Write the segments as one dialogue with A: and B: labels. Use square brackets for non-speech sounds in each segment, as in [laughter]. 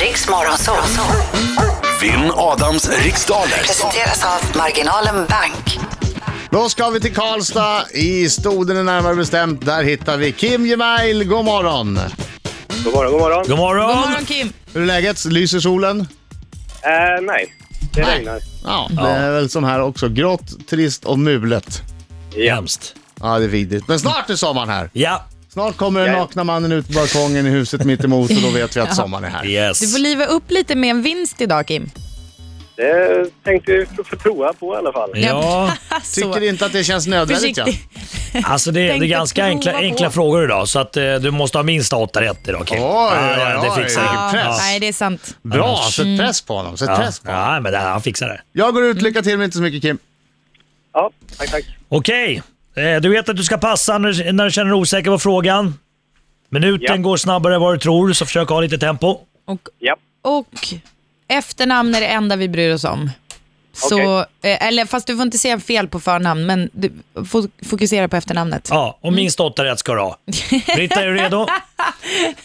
A: Riks Morgonzoo.
B: Vinn Adams riksdaler.
A: Presenteras av Marginalen Bank.
C: Då ska vi till Karlstad, i Stoden närmare bestämt. Där hittar vi Kim Gemail. God morgon!
D: God morgon, god morgon.
E: God morgon!
F: God morgon Kim!
C: Hur är läget? Lyser solen?
D: Eh, nej, det regnar.
C: Ja, det är väl som här också. Grått, trist och mulet.
E: Hemskt.
C: Ja, det är vidrigt. Men snart är sommaren här.
E: Ja,
C: Snart kommer den
D: Ja.
C: nakna mannen ut på balkongen i huset mitt emot och då vet
F: [laughs]
C: vi att sommaren är här.
E: yes.
F: Du får liva upp lite med en vinst idag Kim.
D: Det tänkte vi få prova på i alla fall.
E: Ja,
F: Så.
C: Tycker inte att det känns nödvändigt? Ja.
F: Försiktig.
E: [laughs] alltså det, det
F: Tänkte
E: är ganska
F: prova
E: enkla,
F: på.
E: enkla frågor idag så att eh, du måste ha minst åtta rätt idag Kim.
C: Oj,
E: ja, ja,
C: oj,
E: det
C: oj.
E: fixar
C: Ja.
E: du.
C: Press.
F: Nej, det är sant.
C: Bra, sätt press på honom. Sätt
F: Mm.
E: Ja.
C: press på honom.
E: ja, men det, här- han fixar det.
C: Jag går ut. Lycka till men inte så mycket Kim.
D: Ja, tack, tack.
E: Okej, eh, du vet att du ska passa när, när du känner dig osäker på frågan. Minuten
D: Ja.
E: går snabbare än vad du tror så försök ha lite tempo.
F: Och,
D: Ja,
F: och efternamn är det enda vi bryr oss om. Så, eh, eller fast du får inte säga fel på förnamn, men du, fo- fokusera på efternamnet.
E: Ja, och minst åtta rätt ska du ha. Britta, är du
F: [laughs]
E: redo?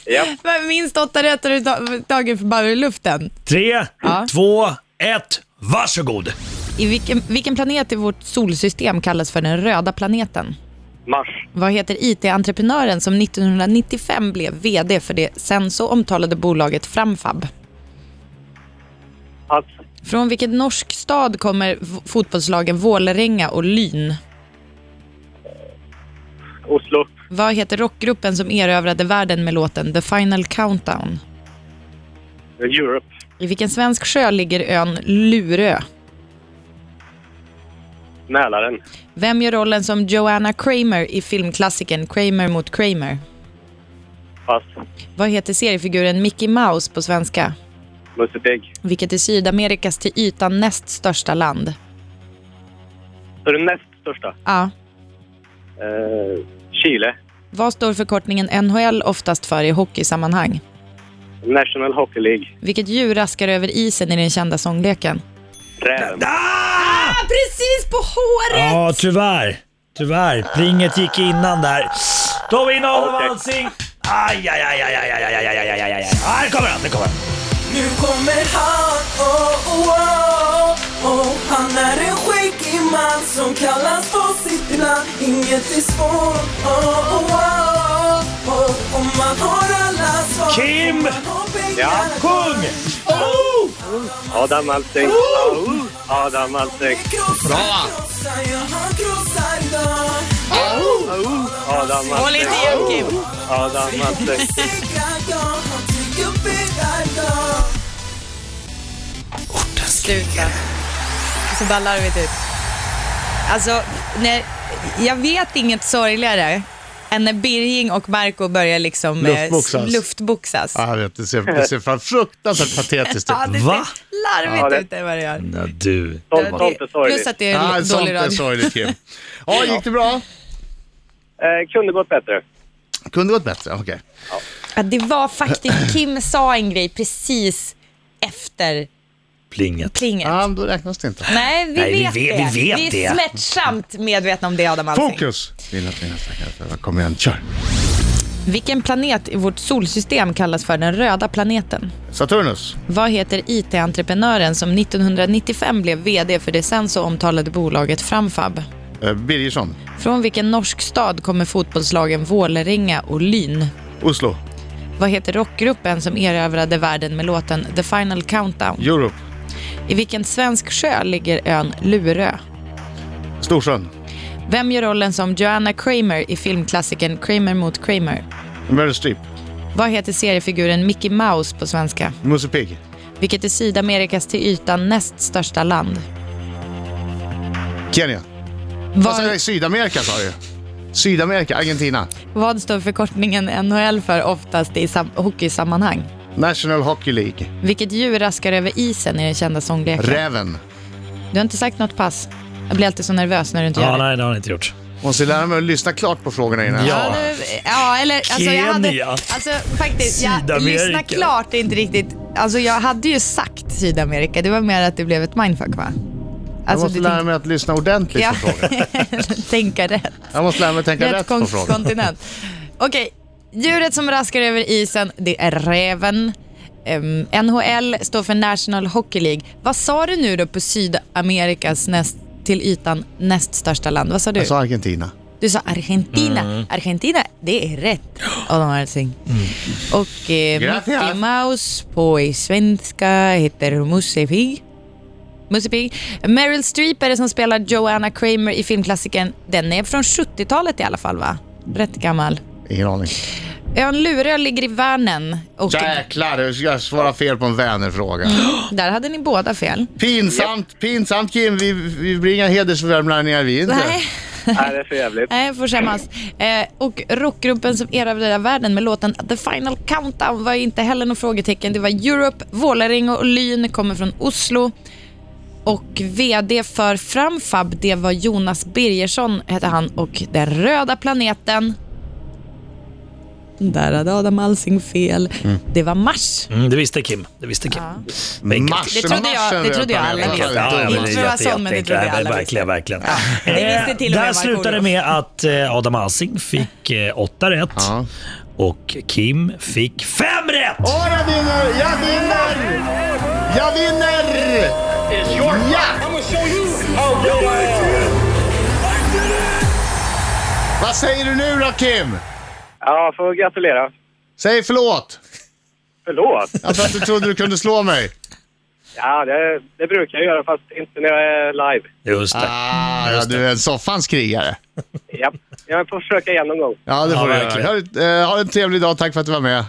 D: ja.
F: Men Minst åtta rätt har du ta- tagit för bara ur luften.
E: Tre,
F: Ja.
E: två, ett, varsågod!
F: I vilken, vilken planet i vårt solsystem kallas för den röda planeten?
D: Mars.
F: Vad heter IT-entreprenören som 1995 blev VD för det sen så omtalade bolaget Framfab?
D: Pass.
F: Från vilken norsk stad kommer v- fotbollslagen Vålerenga och Lyn?
D: Oslo.
F: Vad heter rockgruppen som erövrade världen med låten The Final Countdown?
D: Europe.
F: I vilken svensk sjö ligger ön Lurö?
D: Mälaren.
F: Vem gör rollen som Joanna Kramer i filmklassikern Kramer mot Kramer?
D: Pass.
F: Vad heter seriefiguren Mickey Mouse på svenska?
D: Musse Pigg.
F: Vilket är Sydamerikas till ytan näst största land?
D: Så den näst största.
F: Ja.
D: Eh, Chile.
F: Vad står förkortningen NHL oftast för i hockeysammanhang?
D: National Hockey League.
F: Vilket djur raskar över isen i den kända sångleken?
D: Räven.
E: Ah!
F: Precis på håret!
E: Ja, tyvärr. Tyvärr. Plinget gick innan där. Då har vi in Adam
D: Okej.
E: Alsing. Aj, aj, aj, aj, aj, aj, aj, aj, aj, aj, aj, aj. Här kommer han, nu kommer han.
G: Nu kommer han, oh, oh, oh, oh. Han är en skäggig man som kallas på sitt land Inget är svårt, oh, oh, oh, oh. Om man har alla svar
E: Kim!
G: om man har pengar
D: Ja,
E: Sjung! Oh!
D: Adam Alsing. Au. Adam Alsing.
G: Krossar, krossar, ja, han krossar idag.
D: Adam Alsing.
F: igen Kim!
D: Adam
F: [laughs]
D: Alsing.
G: Segrar, ja, han tycker bäddar idag.
F: Sluta. Så bara larvigt ut. Alltså, när, jag vet inget sorgligare än när Birging och Marco börjar liksom eh,
C: Luftboxas.
F: luftboxas.
C: Ja, jag vet, det ser, det ser fan
F: [laughs]
C: fruktansvärt patetiskt ut.
F: Ja, det
E: Va?
F: ser larvigt
D: Ja, det- Mm.
F: ut det vad det gör.
E: Ja, du.
D: Sånt sånt är
F: Plus
D: sorgligt.
F: att det är
C: Ja, sånt
F: dålig
C: är
F: radio.
C: sorgligt Kim. Ja, gick det bra?
D: Eh, kunde gått bättre.
C: Kunde gått bättre, okej.
F: Ja, det var faktiskt, Kim sa en grej precis efter
E: Plinget.
F: plinget.
C: Ja, då räknas det inte.
F: Nej, vi,
E: Nej, vi
F: vet
E: vet-
F: det.
E: vi vet
F: är
E: det.
F: smärtsamt medvetna om det, Adam Alsing.
C: Fokus! Vill att vi nästan kan- Kom igen, kör!
F: Vilken planet i vårt solsystem kallas för den röda planeten?
C: Saturnus.
F: Vad heter IT-entreprenören som 1995 blev VD för det sen så omtalade bolaget Framfab?
C: Eh, Birgersson.
F: Från vilken norsk stad kommer fotbollslagen Vålerenga och Lyn?
C: Oslo.
F: Vad heter rockgruppen som erövrade världen med låten The Final Countdown?
C: Europe.
F: I vilken svensk sjö ligger ön Lurö?
C: Storsjön.
F: Vem gör rollen som Joanna Kramer i filmklassikern Kramer mot Kramer?
C: Meryl Streep.
F: Vad heter seriefiguren Mickey Mouse på svenska?
C: Musse Pigg.
F: Vilket är Sydamerikas till ytan näst största land?
C: Kenya. Vad sa
F: Vad,
C: jag? Sydamerika sa du ju. Sydamerika. Argentina.
F: vad står förkortningen NHL för oftast i sam- hockeysammanhang?
C: National Hockey League.
F: Vilket djur raskar över isen i den kända sångleken?
C: Räven.
F: Du har inte sagt något pass. Jag blir alltid så nervös när du inte
E: Ja,
F: gör det.
E: nej, det har han inte gjort.
C: Måste lära mig att lyssna klart på frågorna innan.
E: Ja.
F: du, ja eller alltså jag hade,
E: Kenya.
F: alltså faktiskt, jag,
E: Sydamerika.
F: lyssna klart är inte riktigt, alltså jag hade ju sagt Sydamerika, det var mer att det blev ett mindfuck va?
C: Jag
F: Alltså
C: måste lära mig att lyssna ordentligt
F: Ja.
C: på frågorna.
F: tänka rätt.
C: Jag måste lära mig att tänka rätt
F: Rätt
C: på
F: kon-
C: frågorna.
F: kontinent. Okej, djuret som raskar över isen, det är räven. ehm, NHL står för National Hockey League. Vad sa du nu då på Sydamerikas näst, till ytan näst största land? Vad sa du?
C: Jag sa Alltså, Argentina.
F: Du sa Argentina. Argentina, det är rätt. Och de har allting. Och eh,
C: Gracias.
F: Mickey Mouse på i svenska heter Musse Pig. Musse Pig. Meryl Streep är det som spelar Joanna Kramer i filmklassikern. Den är från 70-talet i alla fall va? Rätt gammal.
C: Ingen aning.
F: Ön Lurö ligger i Värnen. Och
C: Jäklar, jag svarar fel på en Vänerfråga.
F: [gasps] där hade ni båda fel.
C: Pinsamt, pinsamt Kim. Vi, vi blir inga hedersvärmlänningar vi inte.
F: Nej.
D: Nej, det är för jävligt.
F: Nej, jag får skämmas. Eh, och rockgruppen som erövrade världen med låten The Final Countdown var ju inte heller något frågetecken. Det var Europe, Vålerenga och Lyn kommer från Oslo. Och VD för Framfab, det var Jonas Birgersson, hette han, och Den röda planeten. Där hade Adam Alsing fel. Det var Mars.
E: Mm, det visste Kim. Det visste Kim. Enkelt.
C: Mars,
F: Det trodde jag-
C: marschen
F: det trodde jag
C: röd
F: alla
C: planet.
F: visste.
E: Ja, ja, men det är
F: Inte för att vara
E: jätte-
F: sån, men det
E: jätteenkelt.
F: trodde jag
E: Nej,
F: alla
E: Verkligen, verkligen. Eh,
F: det visste till och med
E: Där
F: Markoolio.
E: slutade det med att eh, Adam Alsing fick eh, åtta rätt
C: Ja.
E: och Kim fick fem rätt!
C: Åh, jag vinner! Jag vinner! Jag vinner! Ja! Vad säger du nu då Kim?
D: Ja, får gratulera.
C: Säg förlåt
D: Förlåt.
C: Ja, för att du trodde du kunde slå
E: [laughs]
C: mig.
D: Ja, det, det brukar jag göra, fast inte när jag är live.
E: Just det.
C: Ah, ja, du är en soffans krigare.
D: Ja, jag får försöka igen någon gång.
C: Ja, det får du
E: Ja,
C: göra.
E: verkligen.
C: Ha, eh, ha en trevlig dag. Tack för att du var med.